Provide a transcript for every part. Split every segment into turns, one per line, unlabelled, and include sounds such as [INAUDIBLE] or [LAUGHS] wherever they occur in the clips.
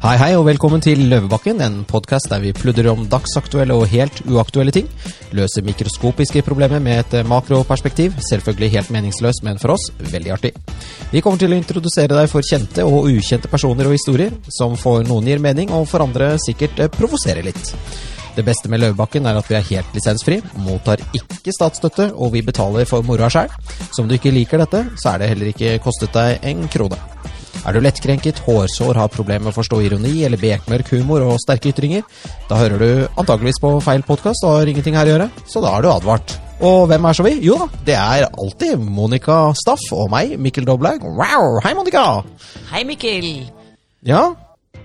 Hei hei og velkommen til Løvebakken, en podkast der vi pludrer om dagsaktuelle og helt uaktuelle ting. Løser mikroskopiske problemer med et eh, makroperspektiv. Selvfølgelig helt meningsløst, men for oss veldig artig. Vi kommer til å introdusere deg for kjente og ukjente personer og historier, som for noen gir mening, og for andre sikkert eh, provoserer litt. Det beste med Løvebakken er at vi er helt lisensfri, mottar ikke statsstøtte, og vi betaler for moroa sjøl. Så om du ikke liker dette, så er det heller ikke kostet deg en krone. Er du lettkrenket, hårsår, har problemer med å forstå ironi eller bekmørk humor og sterke ytringer, da hører du antageligvis på feil podkast og har ingenting her å gjøre, så da er du advart. Og hvem er så vi? Jo da, det er alltid Monica Staff og meg, Mikkel Doblaug. Wow, hei, Monica!
Hei, Mikkel.
Ja,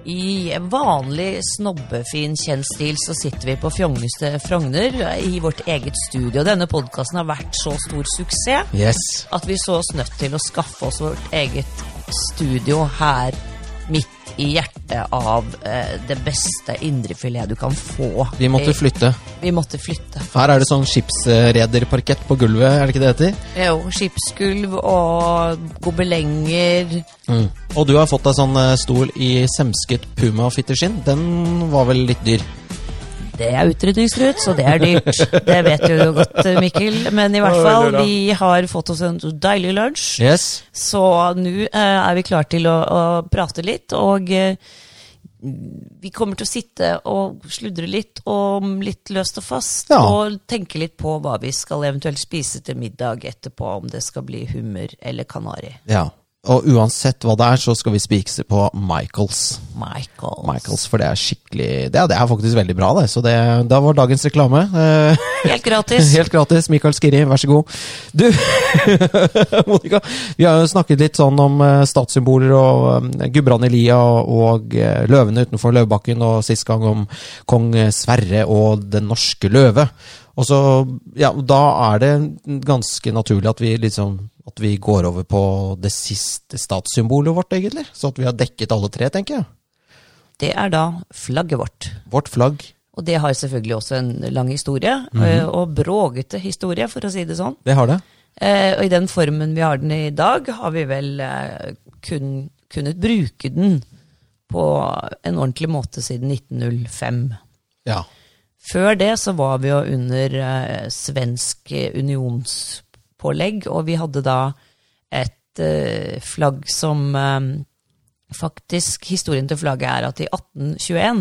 I en vanlig snobbefin kjent stil så sitter vi på Fjogneste Frogner i vårt eget studio. Denne podkasten har vært så stor suksess
yes.
at vi så oss nødt til å skaffe oss vårt eget studio her midt i hjertet av eh, det beste indrefilet du kan få.
Vi måtte
flytte.
flytte.
Vi måtte flytte.
Her er det sånn skipsrederparkett på gulvet, er det ikke det det heter?
Jo, skipsgulv og gobelenger.
Og du har fått deg sånn eh, stol i semsket puma-fitterskinn. Den var vel litt dyr?
Det er utrydningstrut, så det er dyrt. Det vet du jo godt, Mikkel. Men i hvert fall, vi har fått oss en deilig lunsj.
Yes.
Så nå eh, er vi klare til å, å prate litt, og eh, vi kommer til å sitte og sludre litt om litt løst og fast,
Ja.
og tenke litt på hva vi skal eventuelt spise til middag etterpå, om det skal bli hummer eller kanari.
Ja. Og uansett hva det er, så skal vi spikse på Michaels.
Michael.
Michaels, For det er skikkelig Det er, det er faktisk veldig bra, det. Så det, da var dagens reklame. Eh,
Helt gratis.
Helt gratis. Michael Skiri, vær så god. Du, [LAUGHS] Monica. Vi har jo snakket litt sånn om eh, statssymboler og eh, Gudbrand Elia og eh, løvene utenfor Løvebakken, og sist gang om kong eh, Sverre og den norske løve. Og så, ja, Da er det ganske naturlig at vi liksom at vi går over på det siste statssymbolet vårt, egentlig. Så at vi har dekket alle tre, tenker jeg.
Det er da flagget vårt.
Vårt flagg.
Og det har selvfølgelig også en lang historie, eh, og bråkete historie, for å si det sånn.
Det har det.
Eh, Og i den formen vi har den i dag, har vi vel eh, kun, kunnet bruke den på en ordentlig måte siden 1905.
Ja.
Før det så var vi jo under eh, svensk eh, unionspålegg, og vi hadde da et eh, flagg som eh, Faktisk, historien til flagget er at i 1821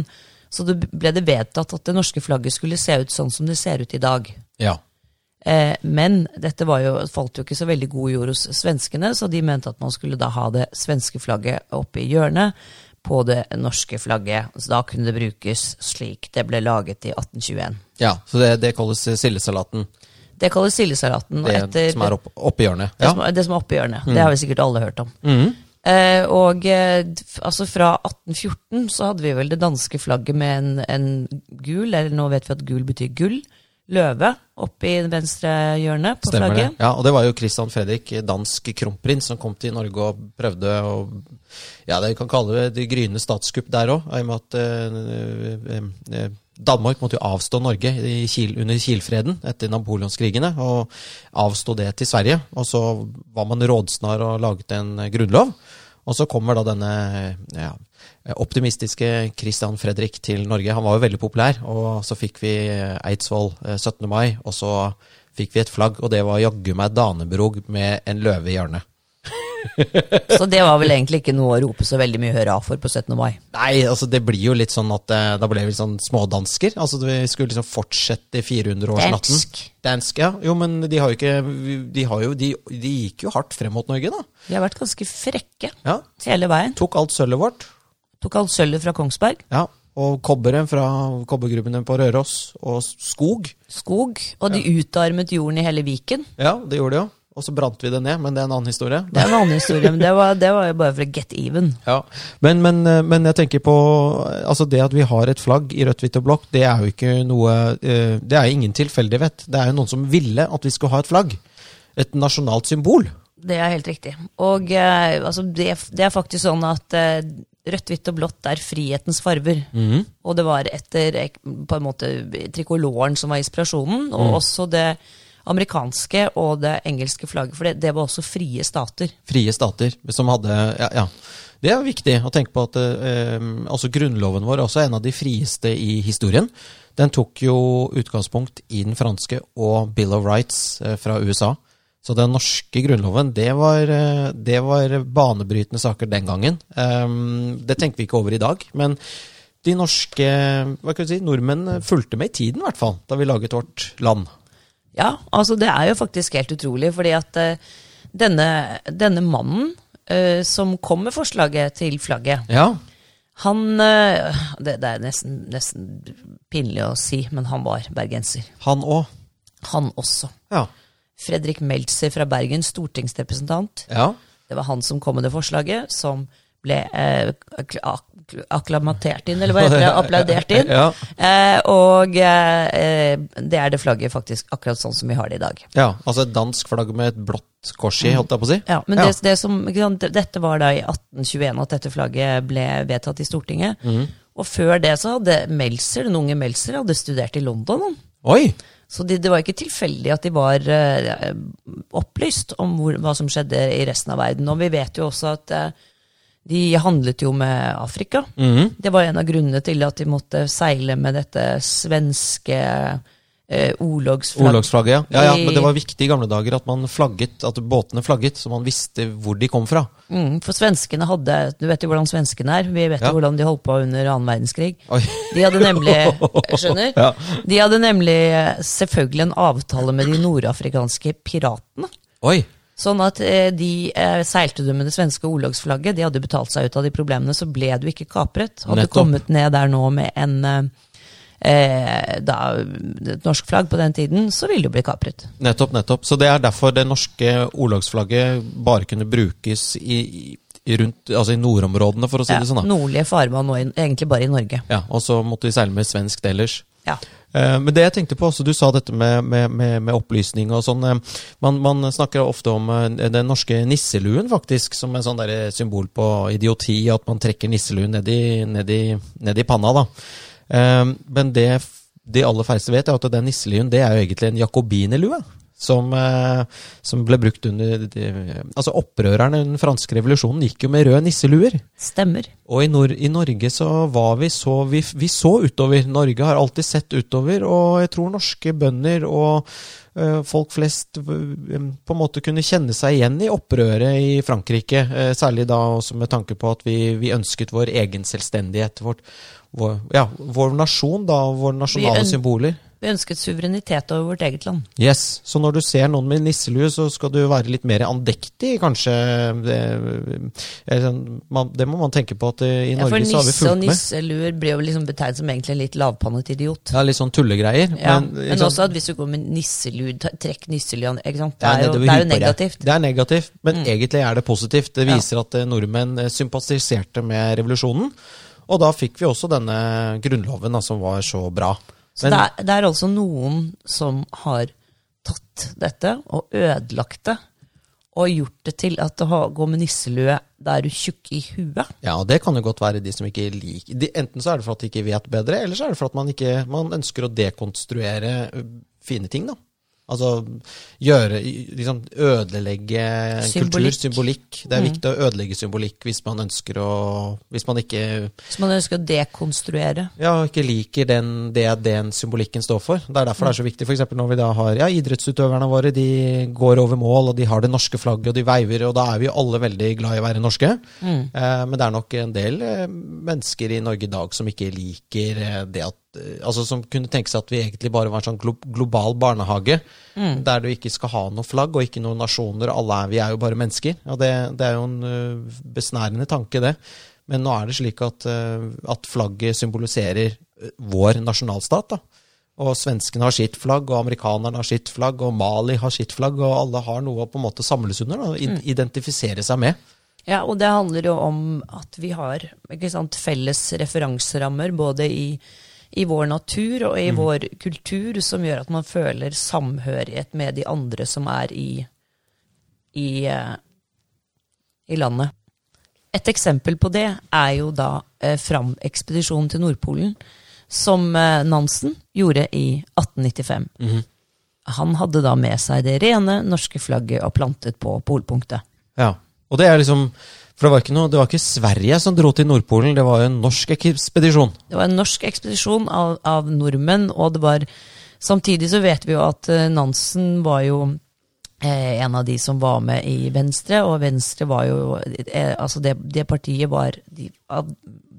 så det ble det vedtatt at det norske flagget skulle se ut sånn som det ser ut i dag.
Ja.
Eh, men dette var jo, falt jo ikke så veldig god jord hos svenskene, så de mente at man skulle da ha det svenske flagget oppe i hjørnet på det norske flagget. Så da kunne det brukes slik det ble laget i 1821.
ja. Så det, det kalles eh, sildesalaten.
Det kalles sildesalaten. og
Det
etter-
som er opp, oppi hjørnet.
det
Ja. Mm.
som, er- det som er oppe i hjørnet. Det har vi sikkert alle hørt om. Eh, og eh, d- f- altså fra 1814 så hadde vi vel det danske flagget med en, en gul, eller nå vet vi at gul betyr gull, løve oppe i venstre hjørne på
Stemmer det.
flagget.
Ja, og det var jo Christian Fredrik, eh, dansk kronprins, som kom til Norge og prøvde å Ja, det vi kan kalle det det gryende statskupp der òg, i og med at eh, eh, eh, Danmark måtte jo avstå Norge i Kiel, under Kielfreden etter napoleonskrigene, og avstå det til Sverige. Og så var man rådsnar og laget en eh, grunnlov. Og så kommer da denne ja, Eh, optimistiske Christian Fredrik til Norge. Han var jo veldig populær, og så fikk vi Eidsvoll eh, 17. mai, og så fikk vi et flagg, og det var jaggu meg Danebrog med en løve i hjørnet.
Så det var vel egentlig ikke noe å rope så veldig mye hurra for på 17. mai.
Nei, altså det blir jo litt sånn at eh, da ble vi sånn smådansker. Altså vi skulle liksom fortsette i 400-årsnatten.
Dansk.
Dansk, ja. Jo, men de har jo ikke De, har jo, de, de gikk jo hardt frem mot Norge, da.
De har vært ganske frekke
Ja.
hele veien.
Tok alt sølvet vårt.
Tok alt sølvet fra Kongsberg.
Ja. Og kobberet fra kobbergrubbene på Røros. Og skog.
Skog, og de utarmet jorden i hele Viken.
Ja, det gjorde det jo. Og så brant vi det ned, men det er en annen historie.
Det er en annen historie, men det var, det var jo bare for å get even.
Ja. Men, men, men jeg tenker på altså det at vi har et flagg i rødt, hvitt og blått, det er jo ikke noe eh, Det er jo ingen tilfeldighet. Det er jo noen som ville at vi skulle ha et flagg. Et nasjonalt symbol.
Det er helt riktig. Og eh, altså, det, det er faktisk sånn at eh, rødt, hvitt og blått er frihetens farver. Og det var etter eh, på en måte trikoloren som var inspirasjonen, og også det amerikanske og det engelske flagget, for det, det var også frie stater.
Frie stater som hadde Ja. ja. Det er viktig å tenke på at eh, altså grunnloven vår er også en av de frieste i historien. Den tok jo utgangspunkt i den franske og Bill of Rights eh, fra USA. Så den norske grunnloven, det var, eh, det var banebrytende saker den gangen. Eh, det tenker vi ikke over i dag, men de norske hva kan vi si, nordmenn fulgte med i tiden, i hvert fall, da vi laget vårt land.
Ja, altså det er jo faktisk helt utrolig, fordi at eh, denne, denne mannen eh, som kom med forslaget til flagget,
Ja,
han eh, det, det er nesten, nesten pinlig å si, men han var bergenser.
han òg.
Han også.
Ja.
Fredrik Meltzer fra Bergen, stortingsrepresentant.
ja.
Det var han som kom med det forslaget, som ble eh, ak ak akklamatert inn, eller hva heter det,
[LAUGHS]
applaudert inn.
Ja.
Eh, og eh, eh, det er det flagget faktisk akkurat sånn som vi har det i dag.
Ja, altså et dansk flagg med et blått kors i, holdt jeg på å si.
Mm. Ja, men
Ja.
Det, det som, ikke sant, Dette var da i 1821 at dette flagget ble vedtatt i Stortinget.
Mhm.
Og før det så hadde Meltzer, den unge Meltzer hadde studert i London. han.
Oi!
Så de, det var ikke tilfeldig at de var eh, opplyst om hvor, hva som skjedde i resten av verden. Og vi vet jo også at eh, de handlet jo med Afrika.
Mhm.
Det var en av grunnene til at de måtte seile med dette svenske eh, orlogsflagget.
Olagsflagget, ja. ja. Ja,
I-
Men det var viktig i gamle dager at man flagget, at båtene flagget, så man visste hvor de kom fra.
Mm, for svenskene hadde Du vet jo hvordan svenskene er. Vi vet
Ja.
jo hvordan de holdt på under annen verdenskrig.
Oi.
De hadde nemlig Skjønner?
[LAUGHS] Ja.
De hadde nemlig eh, selvfølgelig en avtale med de nordafrikanske piratene.
Oi!
Sånn at eh, de eh, seilte du med det svenske orlogsflagget, de hadde betalt seg ut av de problemene, så ble du ikke kapret. Hadde
Nettopp.
du kommet ned der nå med en eh, eh, da, et norsk flagg på den tiden, så ville du bli kapret.
Nettopp, nettopp. Så det er derfor det norske olagsflagget bare kunne brukes i, i, rundt, altså i nordområdene, for å si
Ja,
det sånn. da.
nordlige farvann, og i- egentlig bare i Norge.
Ja, Og så måtte de seile med svenskt ellers.
Ja.
Eh, Men det jeg tenkte på, altså du sa dette med, med, med, med opplysning og sånn. eh, Man, man snakker ofte om eh, den norske nisseluen, faktisk, som en sånn der eh, symbol på idioti, at man trekker nisseluen ned i, ned i, ned i panna, da. Eh, Men det f- de aller færreste vet, er at den nisseluen det er jo egentlig en jakobinerlue. Som, eh, som ble brukt under de- Altså Opprørerne under den franske revolusjonen gikk jo med røde nisseluer.
Stemmer.
Og i, Nor i Norge så var vi så vi, vi så utover. Norge har alltid sett utover, og jeg tror norske bønder og eh, folk flest eh, på en måte kunne kjenne seg igjen i opprøret i Frankrike. eh, særlig da også med tanke på at vi, vi ønsket vår egen selvstendighet. Vårt, vår, ja, vår nasjon, da, og våre nasjonale
øn-
symboler.
Vi ønsket suverenitet over vårt eget land.
Yes, Så når du ser noen med nisselue, så skal du være litt mer andektig, kanskje. Det, eh, sånn, man, det må man tenke på, at eh, i
Ja, for
Norge så har vi
nisse og
fulgt med.
nisseluer blir jo liksom betegnet som egentlig en litt lavpannet idiot.
Ja, litt sånn tullegreier.
Ja, men,
men ikke sant?
også at hvis du går med nisselue, ta- trekk nisseluen, ikke sant?
Det
Det er jo,
nedover
det er jo
huet på deg.
negativt. Mm.
Det er negativt, men egentlig er det positivt. Det
Ja.
viser at eh, nordmenn eh, sympatiserte med revolusjonen. Og da fikk vi også denne grunnloven da, som var så bra.
Så det er, det er altså noen som har tatt dette og ødelagt det, og gjort det til at å ha- gå med nisselue, da er du tjukk i huet.
Ja, det kan jo godt være de som ikke liker de, Enten så er det for at de ikke vet bedre, eller så er det for at man, ikke, man ønsker å dekonstruere ø, fine ting, da. Altså gjøre liksom, Ødelegge en
Symbolikk. Mm.
kultur, symbolikk. Det er viktig å ødelegge symbolikk hvis man ønsker å Hvis man ikke
Så man ønsker å dekonstruere.
ja, og ikke liker den, det den symbolikken står for. Det er derfor det er så viktig. For eksempel når vi da har ja, idrettsutøverne våre, de går over mål, og de har det norske flagget, og de veiver, og da er vi jo alle veldig glad i å være norske. Eh, men det er nok en del eh, mennesker i Norge i dag som ikke liker eh, det at eh, Altså som kunne tenke seg at vi egentlig bare var en sånn glo global barnehage, der du ikke skal ha noe flagg og ikke noen nasjoner, alle er, vi er jo bare mennesker. Og det, det er jo en eh, besnærende tanke, det. Men nå er det slik at, eh, at flagget symboliserer eh, vår nasjonalstat. da. Og svenskene har sitt flagg, og amerikanerne har sitt flagg, og Mali har sitt flagg, og alle har noe å på en måte samles under, da, i- identifisere seg med.
Ja, og det handler jo om at vi har ikke sant, felles referanserammer både i, i vår natur og i vår kultur, som gjør at man føler samhørighet med de andre som er i, i, eh, i landet. Et eksempel på det er jo da eh, Fram-ekspedisjonen til Nordpolen, som eh, Nansen gjorde i 1895. Han hadde da med seg det rene norske flagget og plantet på polpunktet.
Ja. Og det er liksom For det var ikke noe Det var ikke Sverige som dro til Nordpolen, det var jo en norsk ekspedisjon.
Det var en norsk ekspedisjon av, av nordmenn, og det var Samtidig så vet vi jo at eh, Nansen var jo eh, en av de som var med i Venstre, og Venstre var jo eh, Altså, det, det partiet var de, av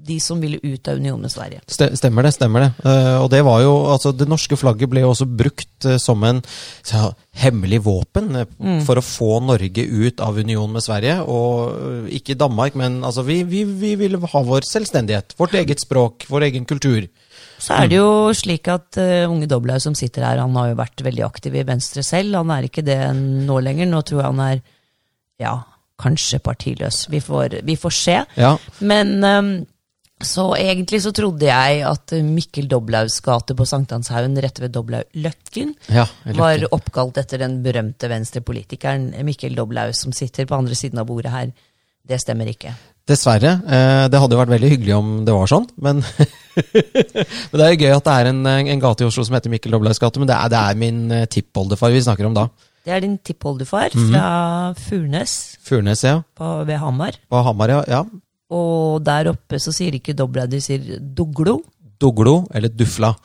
de som ville ut av unionen med Sverige.
Ste- Stemmer det, stemmer det. Eh, og det var jo, altså det norske flagget ble jo også brukt eh, som en så, hemmelig våpen eh, for å få Norge ut av union med Sverige. Og eh, ikke Danmark, men altså vi, vi, vi ville ha vår selvstendighet. Vårt eget språk, vår egen kultur.
Så er det jo slik at eh, unge Doblaug som sitter her, han har jo vært veldig aktiv i Venstre selv. Han er ikke det nå lenger. Nå tror jeg han er, ja, kanskje partiløs. Vi får, vi får se.
Ja,
Men ehm, så egentlig så trodde jeg at Mikkel Doblaugs gate på Sankthanshaugen rett ved Doblaug-løkken
ja.
var oppkalt etter den berømte venstrepolitikeren Mikkel Doblaug som sitter på andre siden av bordet her. Det stemmer ikke.
Dessverre. Eh, det hadde jo vært veldig hyggelig om det var sånn, men [LAUGHS] Men det er jo gøy at det er en, eh, en gate i Oslo som heter Mikkel Doblaugs gate, men det er, det er min eh, tippoldefar vi snakker om da.
Det er din tippoldefar fra Furnes
Furnes, ja.
på, ved Hamar.
På Hamar, ja. ja.
Og der oppe så sier de ikke Doblaug, de sier Doglo.
Doglo eller Dufla.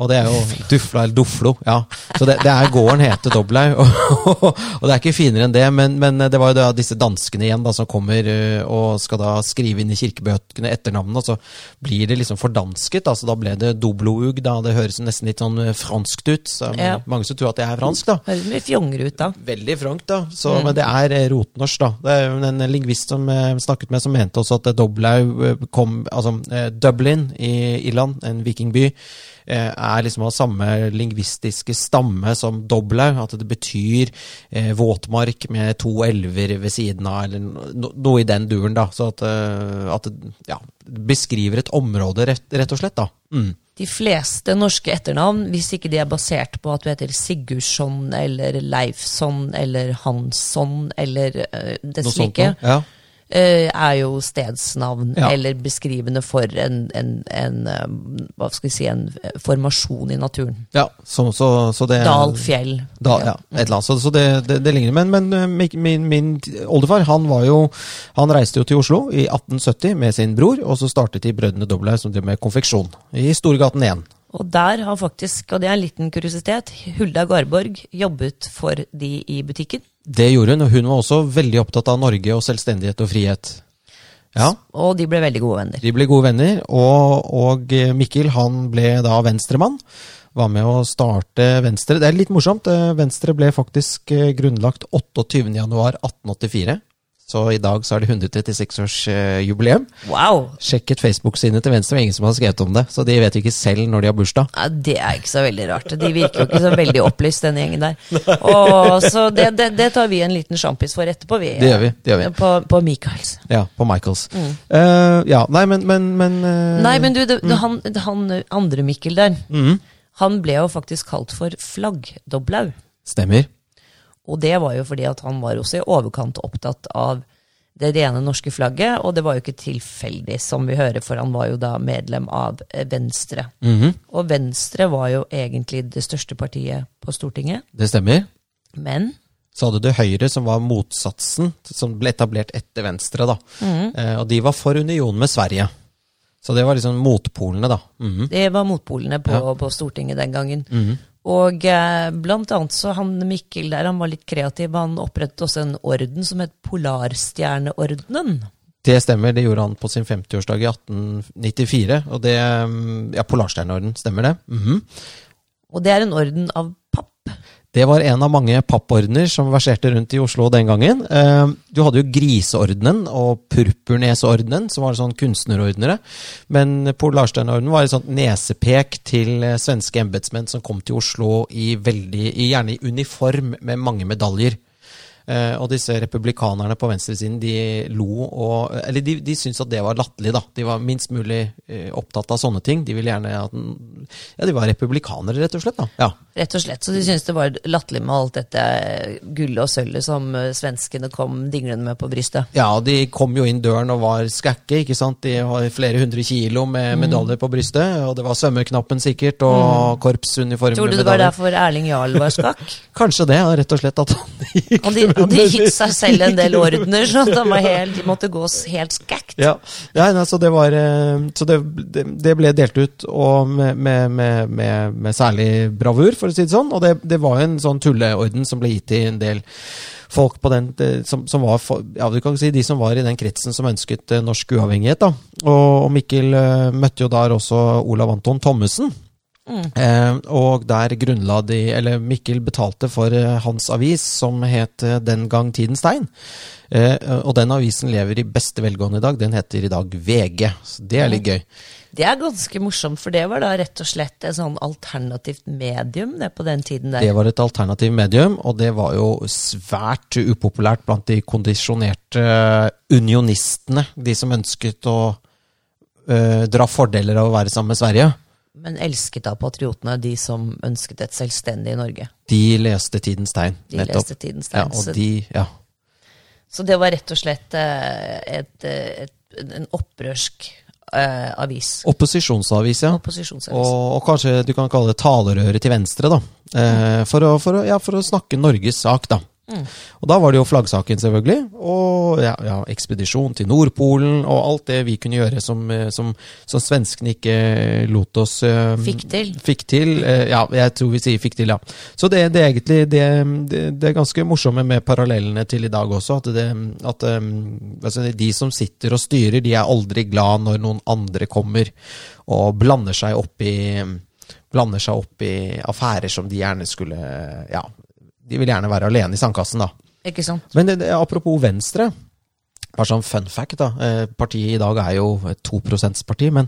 Og det er jo Dufla eller Doflo, ja. Så det, det er gården heter Doblaug. Og, [LAUGHS] og det er ikke finere enn det, men, men det var jo da disse danskene igjen da som kommer eh, og skal da skrive inn i kirkebøkene etternavnene, og så blir det liksom fordansket. altså Da ble det Dobloug, da. Det høres nesten litt sånn eh, franskt ut. Så det er
Ja.
Mange som tror at jeg er fransk, da.
Høres mye fjongere ut da.
Veldig frankt, da. Så,
Mm.
Men det er eh, rotnorsk, da. Det er jo en lingvist som eh, snakket med, som mente også at eh, Doblaug eh, kom Altså, eh, Dublin i Irland, en vikingby, eh, er liksom av samme lingvistiske stamme som Doblaug. At det betyr eh, våtmark med to elver ved siden av, eller no, noe i den duren, da. Så at, eh, at det ja, beskriver et område, rett, rett og slett, da. Mm.
De fleste norske etternavn, hvis ikke de er basert på at du heter Sigurdsson eller Leifsson eller Hansson eller uh, det
Noe sånt
slike,
noe. Ja.
eh, er jo stedsnavn
Ja.
eller beskrivende for en, en, en, eh, hva skal vi si, en eh, formasjon i naturen.
ja så, så, så det
Dal, fjell.
Da, ja, et eller annet. Så, så det, det, det ligner. Men, men eh, mi- min, min oldefar han var jo Han reiste jo til Oslo i 1870 med sin bror, og så startet de Brødrene Doblaug, som drev med konfeksjon, i Storgaten 1.
Og der har faktisk, og det er en liten kuriositet, Hulda Garborg jobbet for de i butikken.
Det gjorde hun, og hun var også veldig opptatt av Norge og selvstendighet og frihet. Ja,
Og de ble veldig gode venner.
De ble gode venner, og, og eh, Mikkel han ble da venstremann. Var med å starte Venstre. Det er litt morsomt. eh, Venstre ble faktisk eh, grunnlagt 28.1.1884. Så i dag så er det 136 års eh, jubileum.
Wow!
Sjekket Facebook-sidene til Venstre, og ingen som har skrevet om det. Så de vet ikke selv når de har bursdag.
Ja, det er ikke så veldig rart. De virker jo ikke så veldig opplyst, den gjengen der. Og, så det, det, det tar vi en liten sjampis for etterpå, vi.
Det gjør vi. det gjør vi.
På, på Michaels.
Ja, på Michaels. Eh, ja, nei, men, men, men eh,
Nei, men du, det, det, han, det- han andre Mikkel der,
Mm.
han ble jo faktisk kalt for Flaggdoblaug.
Stemmer.
Og det var jo fordi at han var også i overkant opptatt av det rene norske flagget, og det var jo ikke tilfeldig, som vi hører, for han var jo da medlem av eh, Venstre.
Mhm.
Og Venstre var jo egentlig det største partiet på Stortinget,
Det stemmer.
men
Så hadde du Høyre, som var motsatsen, som ble etablert etter Venstre. da. Eh, og de var for union med Sverige. Så det var liksom motpolene, da. Mhm.
Det var motpolene på, på Stortinget den gangen. Og eh, blant annet så han Mikkel der, han var litt kreativ. Han opprettet også en orden som het Polarstjerneordenen.
Det stemmer, det gjorde han på sin 50-årsdag i 1894. Og det mm, Ja, Polarstjerneorden, stemmer det? Mhm.
Og det er en orden av papp.
Det var en av mange pappordener som verserte rundt i Oslo den gangen. Eh, Du hadde jo Griseordenen og Purpurnesordenen, som var sånn kunstnerordnere. Men Polarsteinordenen var et sånt nesepek til eh, svenske embetsmenn som kom til Oslo i veldig, i- gjerne i uniform med mange medaljer. Eh, og disse republikanerne på venstresiden de lo og Eller de, de syntes at det var latterlig, da. De var minst mulig eh, opptatt av sånne ting. De ville gjerne at den- Ja, de var republikanere, rett og slett. da. Ja.
Rett og slett. Så de syntes det var latterlig med alt dette eh, gullet og sølvet som eh, svenskene kom dinglende med på brystet.
Ja, de kom jo inn døren og var skakke, ikke sant. De har flere hundre kilo med
Mm.
medaljer på brystet, og det var svømmeknappen sikkert, og korpsuniform
Mm. Tror du
med
det var
medaljer.
derfor Erling Jarl var skakk?
Kanskje det, ja, rett og slett at han gikk
Han hadde
med-
gitt seg selv en del ordener, så at han var helt, de måtte gå s- helt skakk.
Ja, Nei, nei, så det var eh, Så det, det det ble delt ut og med, med, med, med, med særlig bravur, for å si det sånn. Og det, det var jo en sånn tulleorden som ble gitt til en del folk på den det- som, som var for, Ja, du kan si de som var i den kretsen som ønsket eh, norsk uavhengighet, da. Og, og Mikkel eh, møtte jo der også Olav Anton Thommessen. Eh, og der grunnla de Eller Mikkel betalte for eh, hans avis, som het eh, Den gang tidens tegn. Eh, og den avisen lever i beste velgående i dag. Den heter i dag VG. Så det er litt gøy.
Det er ganske morsomt, for det var da rett og slett et sånn alternativt medium det på den tiden
Det
der.
var et alternativ medium, og det var jo svært upopulært blant de kondisjonerte eh, unionistene. De som ønsket å eh, dra fordeler av å være sammen med Sverige.
Men elsket av patriotene, de som ønsket et selvstendig Norge.
De leste Tidens Tegn.
De leste Tidens
Ja,
Tegn.
og
så,
de, ja.
så det var rett og slett eh, et, eh, et, en opprørsk eh, avis.
Opposisjonsavis, ja.
Opposisjonsavis.
Og, og kanskje du kan kalle det talerøret til venstre, da. Eh, for, å, for, å, ja, for å snakke Norges sak, da. Og da var det jo flaggsaken, selvfølgelig. Og ja, ja, ekspedisjon til Nordpolen og alt det vi kunne gjøre som, eh, som, som svenskene ikke lot oss eh,
Fikk til.
Fikk til. eh, Ja, jeg tror vi sier fikk til, ja. Så det, det er egentlig det, det, det er ganske morsomme med parallellene til i dag også. At, det, at eh, altså, de som sitter og styrer, de er aldri glad når noen andre kommer og blander seg opp i Blander seg opp i affærer som de gjerne skulle Ja, de vil gjerne være alene i sandkassen, da.
Ikke sant?
Men det, det, apropos Venstre. Bare sånn fun fact, da. Eh, Partiet i dag er jo et 2 %-parti, men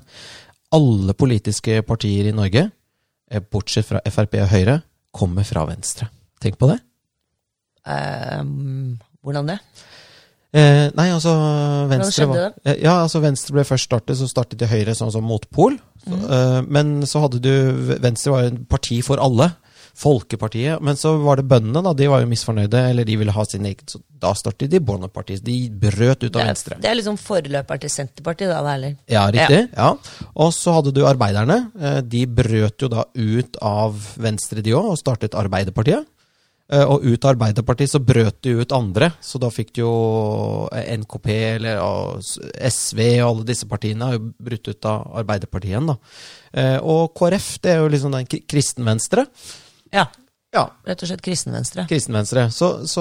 alle politiske partier i Norge, eh, bortsett fra Frp og Høyre, kommer fra Venstre. Tenk på det.
Eh, hvordan det?
Eh, nei, altså Venstre
skjedde
var- Eh, Ja, altså Venstre ble først startet, så startet de Høyre sånn som motpol. Så,
Mm.
eh, men så hadde du Venstre var jo et parti for alle. Folkepartiet. Men så var det bøndene, da. De var jo misfornøyde, eller de ville ha sin egen Så da startet de Bondepartiet. De brøt ut av
Det er,
Venstre.
det er liksom forløper til Senterpartiet, da, Erling.
Ja, riktig. Ja. Og så hadde du arbeiderne. Eh, De brøt jo da ut av Venstre, de òg, og startet Arbeiderpartiet. Eh, Og ut av Arbeiderpartiet så brøt de ut andre, så da fikk du jo eh, NKP eller ja, s- SV og alle disse partiene har jo brutt ut av Arbeiderpartiet igjen, da. Eh, Og KrF, det er jo liksom den kri- kristenvenstre.
Ja,
Ja,
rett og slett kristenvenstre.
kristenvenstre. Så, så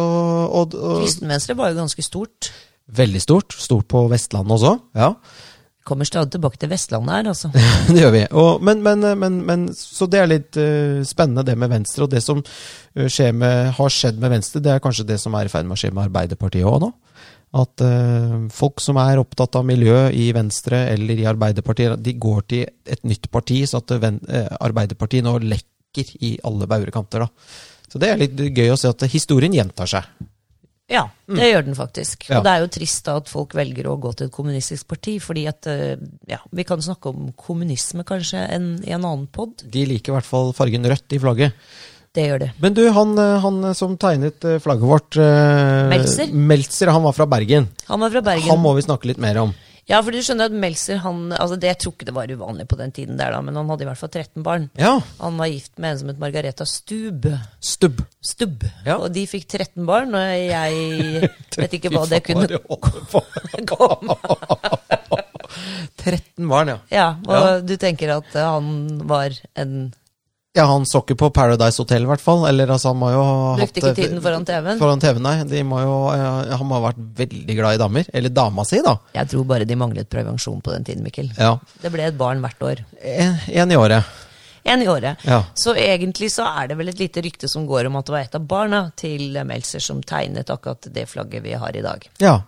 og, og
Kristenvenstre var jo ganske stort.
Veldig stort. Stort på Vestlandet også. Ja.
Kommer stadig tilbake til Vestlandet her, altså.
[LAUGHS] det gjør vi. Og, men, men, men, men, så det er litt eh, spennende, det med Venstre. Og det som eh, skjer med, har skjedd med Venstre, det er kanskje det som er i ferd med å skje med Arbeiderpartiet òg nå. At eh, folk som er opptatt av miljø i Venstre eller i Arbeiderpartiet, de går til et nytt parti, så at eh, Ven- eh, Arbeiderpartiet nå lekker i alle baurekanter, da. Så det er litt gøy å se at historien gjentar seg.
Ja, det gjør den faktisk.
Mm. Ja.
Og det er jo trist da at folk velger å gå til et kommunistisk parti, fordi at eh, ja, vi kan snakke om kommunisme kanskje en, i en annen pod.
De liker i hvert fall fargen rødt i flagget.
Det gjør det.
Men du, han, eh, han som tegnet eh, flagget vårt eh,
Meltzer?
Meltzer, han var fra Bergen.
Han var fra Bergen.
Han må vi snakke litt mer om.
Ja, for du skjønner at Meltzer, han altså det, Jeg tror ikke det var uvanlig på den tiden der, da, men han hadde i hvert fall 13 barn.
Ja,
Han var gift med en som het Margareta Stubb.
stubb.
Stubb.
Ja.
Og de fikk 13 barn, og
[LAUGHS]
jeg vet ikke hva det kunne
komme [LAUGHS] 13 barn, ja.
Ja, og
Ja.
du tenker at eh, han var en
Ja, han så ikke på Paradise Hotel, i hvert fall. Eller altså, han må jo ha
Brukte ikke
hatt, eh,
tiden foran TV-en.
Foran TV-en, nei. De må jo, eh, han må ha vært veldig glad i damer. Eller dama si, da.
Jeg tror bare de manglet prevensjon på den tiden, Mikkel.
Ja.
Det ble et barn hvert år.
Én i året.
Én i året.
Ja.
Så egentlig så er det vel et lite rykte som går om at det var et av barna til Meltzer som tegnet akkurat det flagget vi har i dag.
ja.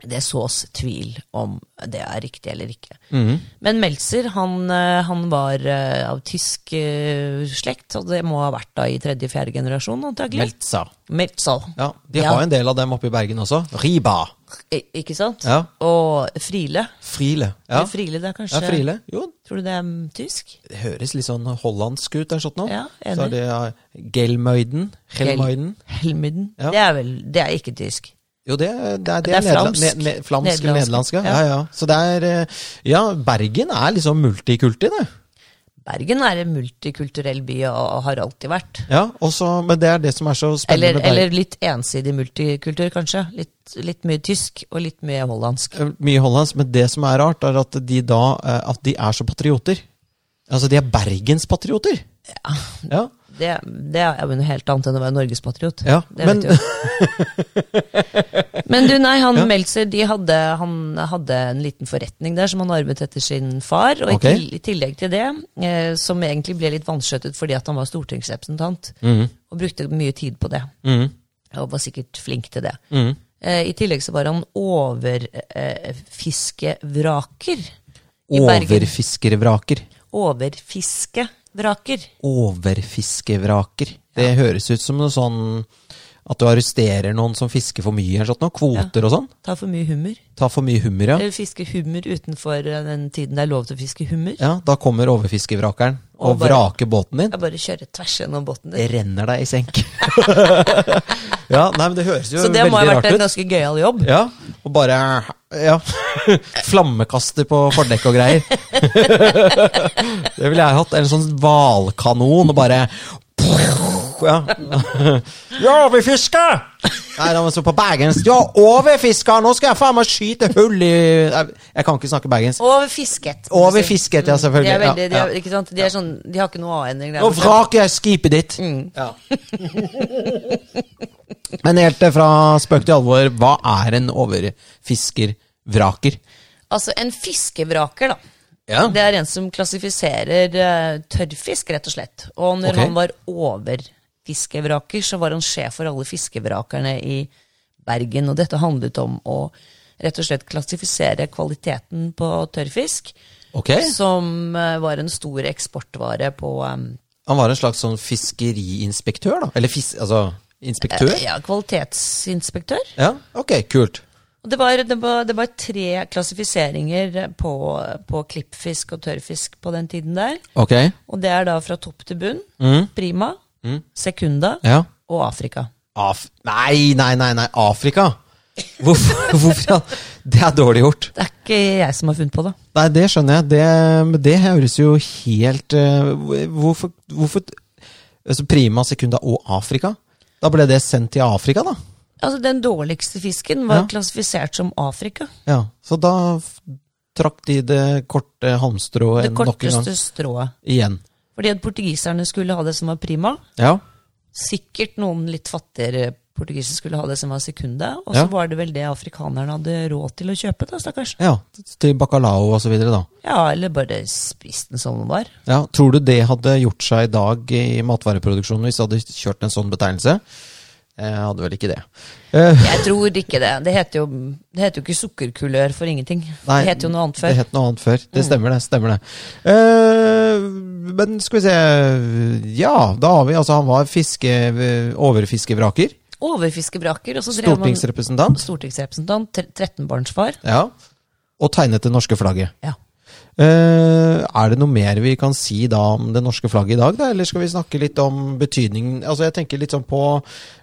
det sås tvil om det er riktig eller ikke.
Mhm.
Men Meltzer han, eh, han var eh, av tysk eh, slekt, og det må ha vært da i tredje-fjerde generasjon, antagelig.
Meltza.
Meltzer.
Ja, de
Ja.
har en del av dem oppe i Bergen også. Riba.
I- Ikke sant?
Ja.
Og Friele.
Friele. Ja,
Eller Friele, det er kanskje
ja Friele. Jo,
Tror du det er mm, tysk?
det høres litt sånn hollandsk ut. eller sånt nå.
Ja, enig.
Så er det ja, Gelmøyden. Gelmøyden.
Helmyden.
Ja.
Det er vel Det er ikke tysk.
Jo, det, er- det, er- det
Det
er
er
nederla-
flamsk.
ne- ne- flamsk eller nederlandsk.
Nederlandsk,
Ja.
ja.
Ja, ja. Så det er eh, Ja, Bergen er liksom multikulti, det.
Bergen er en multikulturell by og og har alltid vært.
Ja, og så- men det er det som er så spennende
Eller,
med Bergen.
eller litt ensidig multikultur, kanskje. Litt, litt mye tysk og litt mye hollandsk.
Eh, Mye hollandsk, men det som er rart, er at de da eh, At de er så patrioter. Altså, de er bergenspatrioter. Ja. ja.
Det, det er jo noe helt annet enn å være norgespatriot.
Ja,
Det
men- [LAUGHS]
vet du. men du, nei, han Meltzer de hadde, han hadde en liten forretning der som han arvet etter sin far. Og i
Ok.
til- i tillegg til det, eh, som egentlig ble litt vanskjøttet fordi at han var stortingsrepresentant, og brukte mye tid på det,
Mhm.
og var sikkert flink til det.
Mhm.
Eh, I tillegg så var han overfiskevraker i Bergen.
Overfiskervraker.
Overfiskevraker.
Overfiskevraker. Det høres ut som noe sånn at du arresterer noen som fisker for mye. eller sånt noe. Kvoter og sånn.
Ta for mye hummer.
Ta for mye hummer, ja.
Eller fiske hummer utenfor eh, den tiden det er lov til å fiske hummer.
ja. Da kommer overfiskevrakeren og,
Og bare-
vraker båten din.
Jeg bare kjører tvers gjennom båten
Det
din.
renner deg i
[LAUGHS]
senk. [LAUGHS] ja, nei, men det høres jo
Så det
veldig
må ha vært
rart
en
ut.
ganske gøyal jobb.
Ja, og bare ja. [LAUGHS] Flammekaster på fordekk og greier. [LAUGHS] det ville jeg hatt. Eller sånn hvalkanon og bare ja. ja, vi fisker! Nei, da var det så på bergensk. Ja, overfisker! Nå skal jeg faen meg skyte hull i Nei, Jeg kan ikke snakke bergensk.
Og fisket.
Og vi fisket, ja,
De er
selvfølgelig.
veldig, de
Ja,
er, ikke sant? De, er sånn, de sånn. har ikke noe A-endring. der
Nå
borte.
vraker jeg skipet ditt! Ja. Men helt eh, fra spøk til alvor, hva er en overfiskervraker?
Altså, en fiskevraker, da.
Ja.
Det er en som klassifiserer eh, tørrfisk, rett og slett. Og når
Ok.
han var overfiskevraker, så var han sjef for alle fiskevrakerne i Bergen. Og dette handlet om å rett og slett klassifisere kvaliteten på tørrfisk,
Ok,
som eh, var en stor eksportvare på eh,
Han var en slags sånn fiskeriinspektør, da? Eller fis... Altså, inspektør?
Ja, kvalitetsinspektør.
Ja, ok, kult.
Og det var, det, var, det var tre klassifiseringer på, på klippfisk og tørrfisk på den tiden der.
Ok.
Og det er da fra topp til bunn. Prima, Sekunda
Mm. Ja.
og Afrika.
Af... Nei, nei, nei, nei, Afrika! Hvorfor? [LAUGHS] hvorfor ja? Det er dårlig gjort.
Det er ikke jeg som har funnet på det.
Nei, det skjønner jeg. Det, men det høres jo helt eh, hvor- Hvorfor, hvorfor altså Prima, Sekunda og Afrika? Da ble det sendt til Afrika, da?
Altså, Den dårligste fisken var
Ja.
klassifisert som Afrika.
Ja, Så da f- trakk de det korte halmstrået
Det
en- nok en gang.
korteste strået.
Igjen.
Fordi at portugiserne skulle ha det som var prima.
Ja.
Sikkert noen litt fattigere portugisere skulle ha det som var sekunda. Og
Ja.
så var det vel det afrikanerne hadde råd til å kjøpe, da, stakkars.
ja. Til bacalao og så videre, da.
Ja, eller bare spist den som den var.
Ja, Tror du det hadde gjort seg i dag i matvareproduksjonen hvis det hadde kjørt en sånn betegnelse? Jeg hadde vel ikke det. Eh,
Jeg tror ikke det. Det heter jo, det heter jo ikke sukkerkulør for ingenting.
nei,
det heter jo noe annet før. Mm.
Det het noe annet før. Det stemmer, det. stemmer det. Eh, men skal vi se Ja, da har vi altså Han var fiske, overfiskevraker.
Overfiskevraker, og så drev man
Stortingsrepresentant.
stortingsrepresentant, tre- 13-barnsfar.
Ja. Og tegnet det norske flagget.
Ja.
Eh, er det noe mer vi kan si da om det norske flagget i dag, da? eller skal vi snakke litt om betydningen Altså Jeg tenker litt sånn på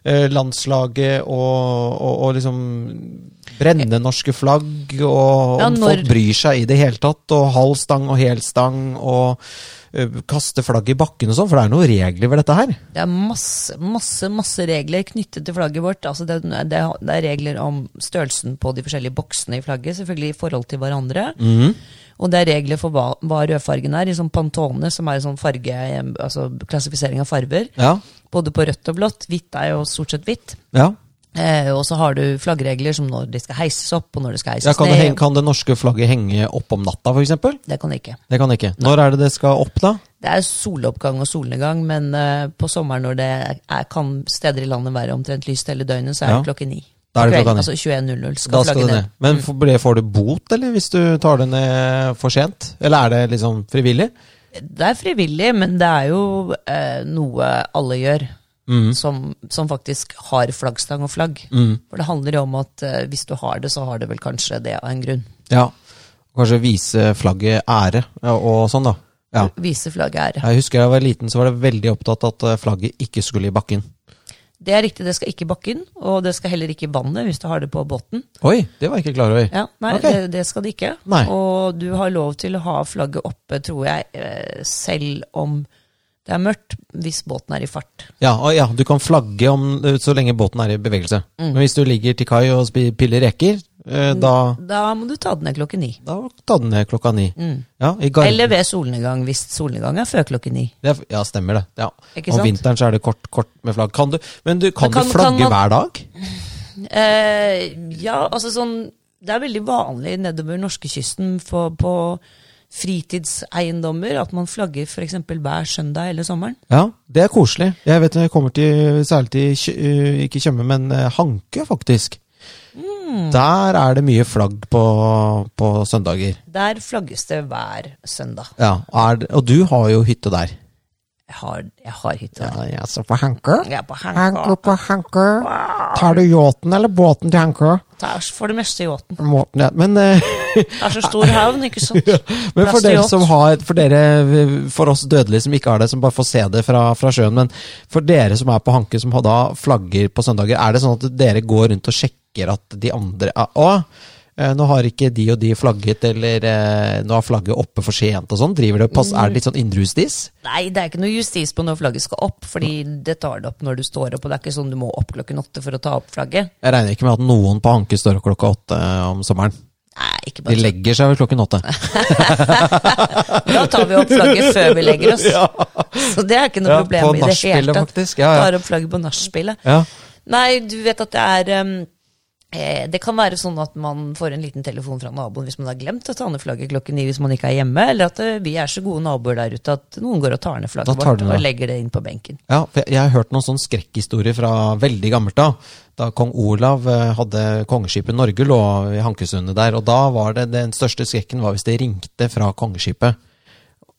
eh, landslaget og, og, og liksom brennende norske flagg, og
Ja,
om
når-
folk bryr seg i det hele tatt, og halv stang og hel stang, og eh, kaste flagget i bakken og sånn, for det er noen regler ved dette her.
Det er masse, masse masse regler knyttet til flagget vårt. Altså det, er- det, er- det er regler om størrelsen på de forskjellige boksene i flagget, selvfølgelig i forhold til hverandre.
Mhm.
Og det er regler for hva, hva rødfargen er, i sånn Pantone, som er sånn farge, altså klassifisering av farger.
Ja,
Både på rødt og blått. Hvitt er jo stort sett hvitt.
ja.
Eh, og så har du flaggregler som når de skal heises opp, og når de skal
ja
heises
kan, det, heng-
ned.
kan det norske flagget henge opp om natta, for eksempel?
Det kan de ikke.
Det kan det ikke. Når er det det skal opp, da?
Det er soloppgang og solnedgang, men eh, på sommeren når det er, kan steder i landet være omtrent lyst hele døgnet, så er
Ja.
det klokken ni.
Da er det
Kvelden,
klokka ned.
altså 21.00 skal,
Da skal
flagget
det
ned.
ned. Men får- blir- får du bot, eller, hvis du tar det ned for sent? Eller er det liksom frivillig?
Det er frivillig, men det er jo eh, noe alle gjør.
Mm.
Som, som faktisk har flaggstang og flagg.
Mm.
For det handler jo om at eh, hvis du har det, så har det vel kanskje det av en grunn.
Ja. Kanskje vise flagget ære ja, og sånn, da. Ja.
Vise flagget ære.
Jeg husker jeg var liten, så var det veldig opptatt at eh, flagget ikke skulle i bakken.
Det er riktig, det skal ikke i bakken, og det skal heller ikke i vannet hvis du har det på båten.
Oi, det var jeg ikke klar over.
Ja, nei,
Ok.
det, det skal det ikke.
Nei.
Og du har lov til å ha flagget oppe, tror jeg, eh, selv om det er mørkt, hvis båten er i fart.
Ja, og ja, du kan flagge om, eh, så lenge båten er i bevegelse. Men hvis du ligger til kai og spi- piller reker, eh, da,
Da må du ta den ned klokken ni.
da ta den ned klokka ni. Ja, i garden.
Eller ved solnedgang, hvis solnedgang er før klokken ni.
Det er, ja, stemmer det. Ja.
Ikke
Om
sant?
vinteren så er det kort, kort med flagg. Kan du, men du, kan,
Men kan-
du flagge
kan man-
hver dag?
Eh, ja, altså sånn Det er veldig vanlig nedover norskekysten for, på fritidseiendommer at man flagger f.eks. hver søndag hele sommeren.
Ja, det er koselig. Jeg vet når jeg kommer til, særlig til, Kjø- øh, ikke Tjøme, men eh, Hanke, faktisk.
Mm.
Der er det mye flagg på, på søndager.
Der flagges det hver søndag.
Ja, er, det- og du har jo hytte der.
Jeg har, jeg har hytte.
Ja, jeg så på Hanke.
Jeg er på
Hanke
Hanka.
på Hanke. Tar du yachten eller båten til Hanke?
Tar for det meste yachten.
Måten, ja. Men eh, [LAUGHS]
Det er så stor havn, ikke sant?
Men for
Plass til
dere
yacht.
som har For dere, for oss dødelige som ikke har det, som bare får se det fra, fra sjøen. Men for dere som er på Hanke, som har da flagger på søndager, er det sånn at dere går rundt og sjekker at de andre ah, Å, eh, nå har ikke de og de flagget, eller eh, nå har flagget oppe for sent og sånn. Driver det og pass, Er det litt sånn innrusdis?
Nei, det er ikke noe justis på når flagget skal opp, fordi det tar det opp når du står opp, og det er ikke sånn du må opp klokken åtte for å ta opp flagget.
Jeg regner ikke med at noen på Hanke står opp klokka åtte om sommeren.
Nei,
De
ikke bare sånn.
legger seg vel klokken åtte.
Da tar vi opp
[LAUGHS]
flagget før vi legger oss. Så det er ikke noe
Ja, på
problem i det
nachspielet,
hele tatt.
faktisk. Ja, ja.
Tar opp flagget på nachspielet.
Ja.
Nei, du vet at det er ehm, eh, det kan være sånn at man får en liten telefon fra naboen hvis man har glemt å ta ned flagget klokken ni hvis man ikke er hjemme, eller at eh, vi er så gode naboer der ute at noen går og tar ned
Da
flagget
tar
vårt
du det.
og legger det inn på benken.
Ja, for jeg, jeg har hørt noen sånn skrekkhistorier fra veldig gammelt da. Da kong Olav eh, hadde kongeskipet Norge lå i Hankesundet der, og da var det den største skrekken var hvis det ringte fra kongeskipet.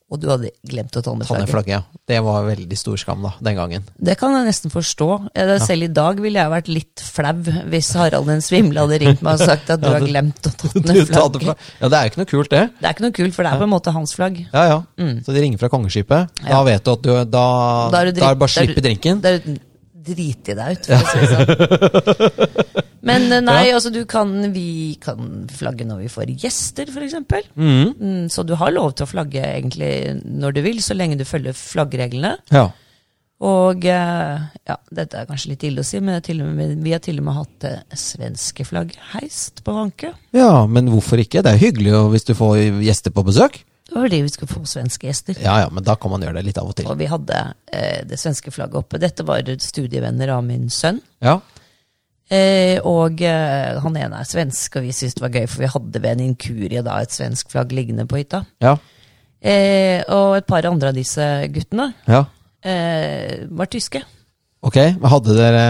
Og du hadde glemt å ta ned
Ta ned
flagget.
flagget, ja. Det var veldig stor skam da, den gangen.
Det kan jeg nesten forstå. Eh, det- Selv i dag ville jeg vært litt flau hvis Harald den svimle hadde ringt meg og sagt at du har glemt å
[LAUGHS]
ta
[LAUGHS] Du
ned
tar det fra-
flagget.
Ja, det er jo ikke noe kult det.
Det er ikke noe kult, for det er på en måte hans flagg.
Ja, ja. Så de ringer fra kongeskipet. Da vet du at du, Mm. da,
Da er du
da er det bare å
drit- da er
slippe
du-
drinken.
Det er drit i deg ut, for å si det
[LAUGHS]
sånn. Men eh, nei, altså du kan Vi kan flagge når vi får gjester, for eksempel.
Mhm.
Mm, så du har lov til å flagge egentlig når du vil, så lenge du følger flaggreglene.
Ja.
Og eh, ja, dette er kanskje litt ille å si, men det er til og med, vi har til og med hatt eh, svenske flagg heist på Vanke.
ja, men hvorfor ikke? Det er hyggelig jo hvis du får gjester på besøk.
Det var fordi vi skulle få svenske gjester.
Ja, ja, men da kan man gjøre det litt av og til.
Og vi hadde eh, det svenske flagget oppe. Dette var studievenner av min sønn.
Ja,
Eh, og eh, han ene er svensk, og vi syntes det var gøy, for vi hadde ved en inkurie da et svensk flagg liggende på hytta.
ja,
Eh, og et par andre av disse guttene
ja.
eh, var tyske.
Ok, men hadde dere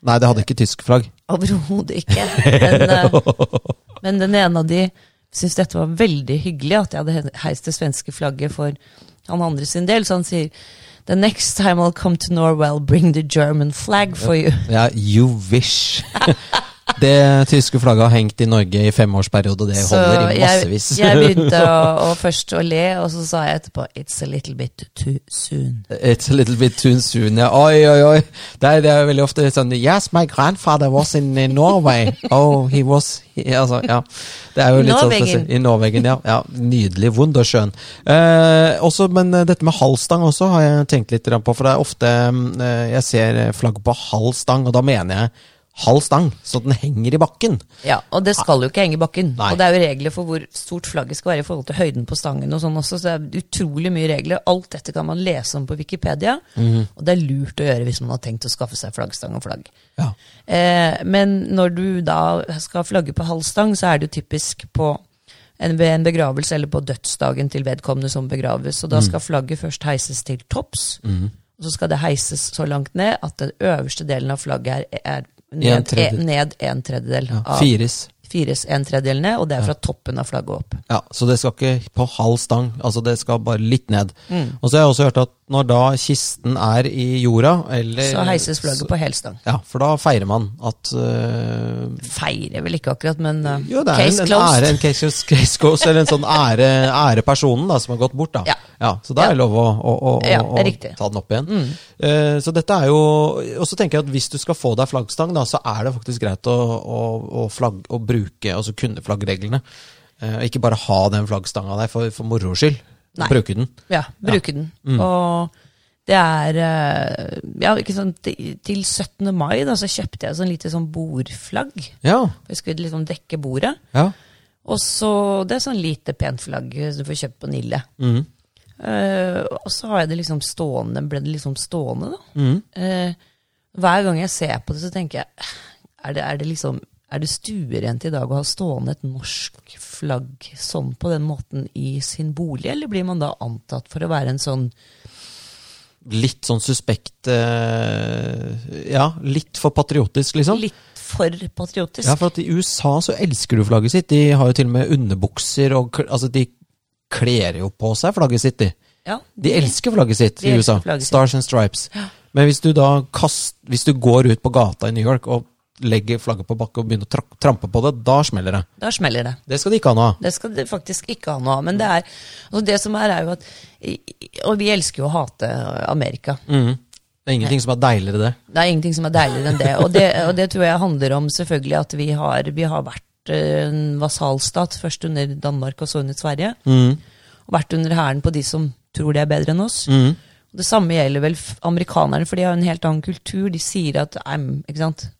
Nei, det hadde ikke tysk
[LAUGHS]
flagg.
Overhodet ikke. Men, eh, men den ene av de syntes dette var veldig hyggelig, at jeg hadde he- heist det svenske flagget for han andre sin del. Så han sier The next time I'll come to Norway, I'll bring the German flag for you.
Ja, you
[LAUGHS]
wish. Det tyske flagget har hengt i Norge i femårsperiode, det
Så
holder i
jeg,
massevis.
jeg begynte
[LAUGHS]
å, å først å le, og så sa jeg etterpå It's a little bit too soon.
It's a little bit too soon. ja. Oi, oi, oi. Det er, det er veldig ofte sånn Yes, my grandfather was in Norway. Oh, he was he, altså, ja. Det er jo
I
litt sånn
Norwegen.
spesielt. I Norwegen. Ja. ja. Nydelig. Wunderschön. Eh, også, men eh, dette med halvstang også har jeg tenkt litt grann på. For det er ofte mm, eh, jeg ser eh, flagg på halv stang, og da mener jeg halv stang, så den henger i bakken.
Ja, Og det skal jo ikke henge i bakken.
Nei.
Og det er jo regler for hvor stort flagget skal være i forhold til høyden på stangen og sånn også, så det er utrolig mye regler. Alt dette kan man lese om på Wikipedia,
Mhm.
og det er lurt å gjøre hvis man har tenkt å skaffe seg flaggstang og flagg.
Ja.
Eh, men når du da skal flagge på halv stang, så er det jo typisk på en, ved en begravelse eller på dødsdagen til vedkommende som begraves.
Mm.
Og da skal flagget først heises til topps, og så skal det heises så langt ned at den øverste delen av flagget er, er
En
ned en,
tredjedel.
ned en tredjedel
Ja,
av
Firis.
fires en tredjedel ned, og det er fra toppen av flagget opp.
Ja, Så det skal ikke på halv stang, altså det skal bare litt ned.
Mm.
Og så har jeg også hørt at når da kisten er i jorda, eller
Så heises flagget på helstang.
Ja, for da feirer man at øh,
Feirer vel ikke akkurat, men eh,
Jo, det er
case
en, en
closed.
ære, en case, closed- case closed, eller en sånn ære, ærepersonen da, som har gått bort. da.
Ja.
så da er det
Ja.
lov å, å, å, å,
Ja,
å
det er riktig. Mm.
ta den opp igjen. Eh, så dette er jo, Og så tenker jeg at hvis du skal få deg flaggstang, da, så er det faktisk greit å, å, å, flagg, å bruke altså kunne flaggreglene. Eh, ikke bare ha den flaggstanga der for, for moro skyld.
Nei.
Bruke den.
Ja, bruke den. Og det er eh, Ja, ikke sant, til til 17. mai da, så kjøpte jeg sånn lite sånn bordflagg.
Ja,
For jeg skulle liksom dekke bordet.
ja.
Og så, Det er sånn lite pent flagg som du får kjøpt på Nille.
Mm.
Eh, og så har jeg det liksom stående, ble det liksom stående, da. Eh, hver gang jeg ser på det, så tenker jeg Er det, er det liksom Er det stuerent i dag å ha stående et norsk flagg sånn på den måten i sin bolig, eller blir man da antatt for å være en sånn
Litt sånn suspekt eh, Ja, litt for patriotisk, liksom.
litt for patriotisk?
Ja, for at i USA så elsker du flagget sitt. De har jo til og med underbukser og kl- Altså, de kler jo på seg flagget sitt, de.
Ja,
De elsker flagget sitt
De
i USA.
elsker flagget sitt.
Stars and Stripes. Men hvis du da kast, hvis du går ut på gata i New York og legger flagget på bakken og begynner å trak- trampe på det, da smeller det.
Da smeller det.
Det skal de ikke ha noe av.
Det skal det faktisk ikke ha noe av. Men det er altså det som er, er jo at i- i- Og vi elsker jo å hate Amerika.
Mhm. Det er ingenting som er deiligere det.
Det er ingenting som er deiligere enn det. Og det, og det tror jeg handler om selvfølgelig at vi har, vi har vært eh, en vasalstat, først under Danmark og så under Sverige. Og vært under hæren på de som tror de er bedre enn oss.
Mhm.
Det samme gjelder vel f- amerikanerne, for de har en helt annen kultur. De sier at I'm, ikke sant?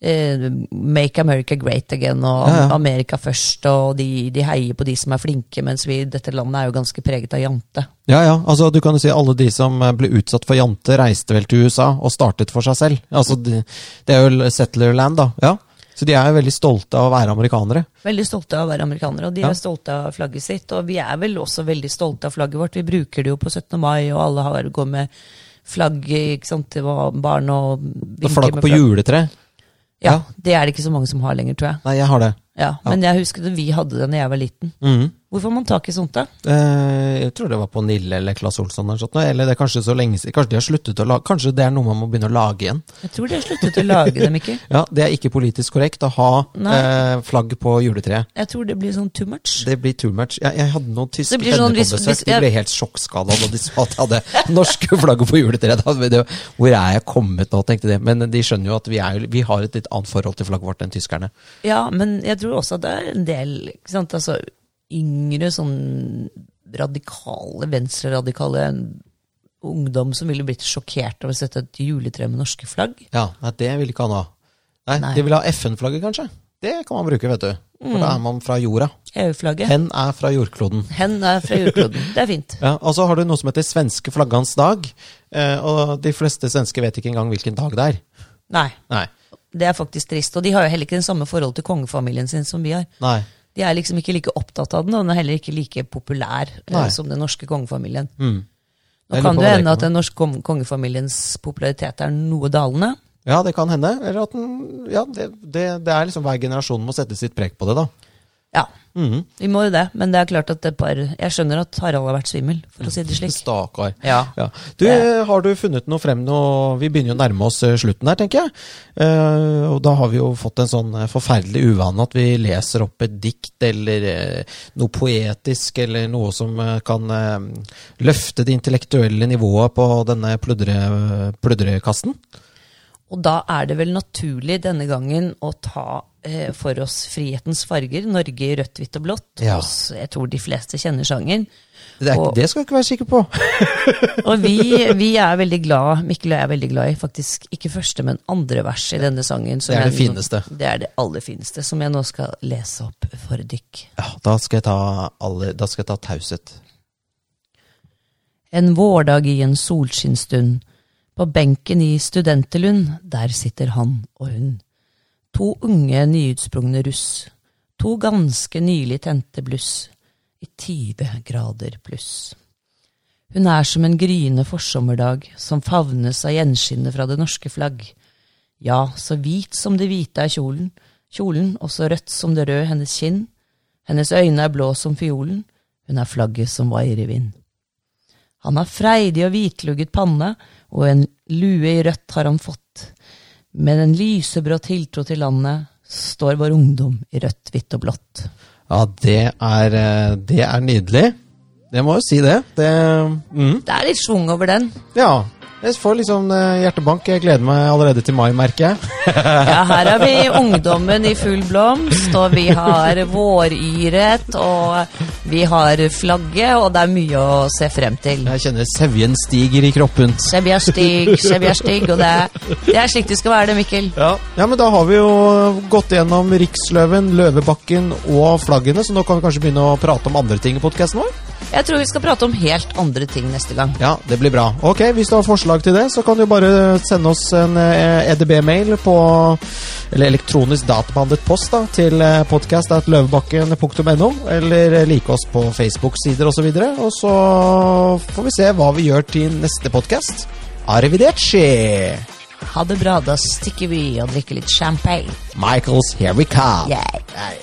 Eh, make America great again, og
Ja, ja.
Amerika først. Og de, de heier på de som er flinke, mens vi, dette landet er jo ganske preget av jante.
Ja, ja. Altså, du kan jo si alle de som eh, ble utsatt for jante, reiste vel til USA og startet for seg selv. Altså, de, det er jo settler land, da. Ja. Så de er jo veldig stolte av å være amerikanere.
Veldig stolte av å være amerikanere, og de
Ja.
er stolte av flagget sitt. Og vi er vel også veldig stolte av flagget vårt. Vi bruker det jo på 17. mai, og alle har, går med flagg ikke sant, til barn og
Og
vinker
flagg
med
på juletre?
Ja,
ja.
det er det ikke så mange som har lenger, tror jeg.
Nei, jeg har det.
Ja, Men jeg husker det, vi hadde det da jeg var liten.
Mhm.
Hvorfor har man tak i sånt, da?
Eh, jeg tror det var på Nille eller Claes Olsson. Eller, sånt, noe, eller det er kanskje så lenge siden. Kanskje de har sluttet å lage Kanskje det er noe man må begynne å lage igjen.
Jeg tror de har sluttet å lage dem, ikke?
Ja, Det er ikke politisk korrekt å ha
Nei.
eh, flagg på juletreet.
Jeg tror det blir sånn too much.
Det blir too much. Jeg, jeg hadde noen tyske
Det blir
venner
sånn
på
hvis-
besøk.
hvis
De
jeg-
ble helt sjokkskada da de sa at jeg hadde [LAUGHS] norske flagget på juletreet. Da ble det jo, Hvor er jeg kommet nå, tenkte de. Men de skjønner jo at vi, er, jo- vi har et litt annet forhold til flagget vårt enn tyskerne.
Ja, men jeg tror også at det er en del ikke sant? Altså, yngre, sånn radikale, venstreradikale ungdom som ville blitt sjokkert over å sette et juletre med norske flagg.
Ja, nei, Det vil ikke han ha. Nei,
Nei.
De vil ha FN-flagget, kanskje. Det kan man bruke, vet du. For da er man fra jorda.
EU-flagget.
Hen er fra jordkloden.
Hen er fra jordkloden. Det er fint.
Ja, og så har du noe som heter svenske flaggans dag. Eh, og de fleste svensker vet ikke engang hvilken dag det er.
Nei,
Nei.
det er faktisk trist. Og de har jo heller ikke den samme forhold til kongefamilien sin som vi har.
Nei.
De er liksom ikke like opptatt av den, og den er heller ikke like populær eh,
Nei. Mm.
som den norske kongefamilien. Nå
Jeg lurer
kan
på hva
det
det
hende
kommer.
at den norske kong- kongefamiliens popularitet er noe dalende.
Ja, det kan hende. Eller at den Ja, det, det, det er liksom hver generasjon må sette sitt preg på det, da.
Ja,
Mm-hmm.
vi må jo det. Men det er klart at det par, jeg skjønner at Harald har vært svimmel, for å si det slik.
[LAUGHS] Stakkar.
Ja.
Ja. Du, eh,
Det-
har du funnet noe frem noe Vi begynner jo å nærme oss eh, slutten her, tenker jeg. Eh, og da har vi jo fått en sånn eh, forferdelig uvane at vi leser opp et dikt eller eh, noe poetisk eller noe som eh, kan eh, løfte det intellektuelle nivået på denne pludre, pludrekasten.
Og da er det vel naturlig denne gangen å ta eh, for oss Frihetens farger, Norge i rødt, hvitt og blått.
Ja.
Og s- jeg tror de fleste kjenner sangen.
Det, er, ikke-
Og-
det skal du ikke være sikker på.
Og vi, vi er veldig glad, Mikkel og jeg er veldig glad i faktisk ikke første, men andre vers i denne sangen. som
Det er
jeg
det
nå-
fineste.
Det er det aller fineste, som jeg nå skal lese opp for dykk.
Ja, da skal jeg ta, alle, da skal jeg ta taushet.
En vårdag i en solskinnsstund. På benken i studentelund, der sitter han og hun. To unge nyutsprungne russ. To ganske nylig tente bluss. I 20 grader pluss. Hun er som en gryende forsommerdag som favnes av gjenskinnet fra det norske flagg. Ja, så hvit som det hvite er kjolen, kjolen, og så rødt som det røde hennes kinn. Hennes øyne er blå som fiolen, hun er flagget som vaier i vind. Han har freidig og hvitlugget panne, og en lue i rødt har han fått. Med en lysebrå tiltro til landet står vår ungdom i rødt, hvitt og blått.
Ja, det er, eh, det er nydelig. Jeg må jo si det. det mm.
Det er litt schwung over den.
Ja. Jeg får liksom eh, hjertebank. Jeg gleder meg allerede til mai, merker jeg.
Ja, her har vi ungdommen i full blomst, og vi har våryret, og vi har flagget, og det er mye å se frem til.
Jeg kjenner sevjen stiger i kroppens.
Sebbi er stygg, Sebbi er stygg, og det er, det er slik det skal være det, Mikkel.
Ja. ja, men da har vi jo gått gjennom Riksløven, Løvebakken og flaggene, så nå kan vi kanskje begynne å prate om andre ting i podkasten vår?
Jeg tror vi skal prate om helt andre ting neste gang.
Ja, det blir bra. Ok, Hvis du har forslag til det, så kan du bare sende oss en eh, EDB-mail på Eller elektronisk databehandlet post da, til eh, podcast.løvebakken.no, eller eh, like oss på Facebook-sider osv. Og så får vi se hva vi gjør til neste podkast. Arrivederci!
Ha det bra, da stikker vi og drikker litt champagne.
Michaels, here we come.
Yeah.
Nei.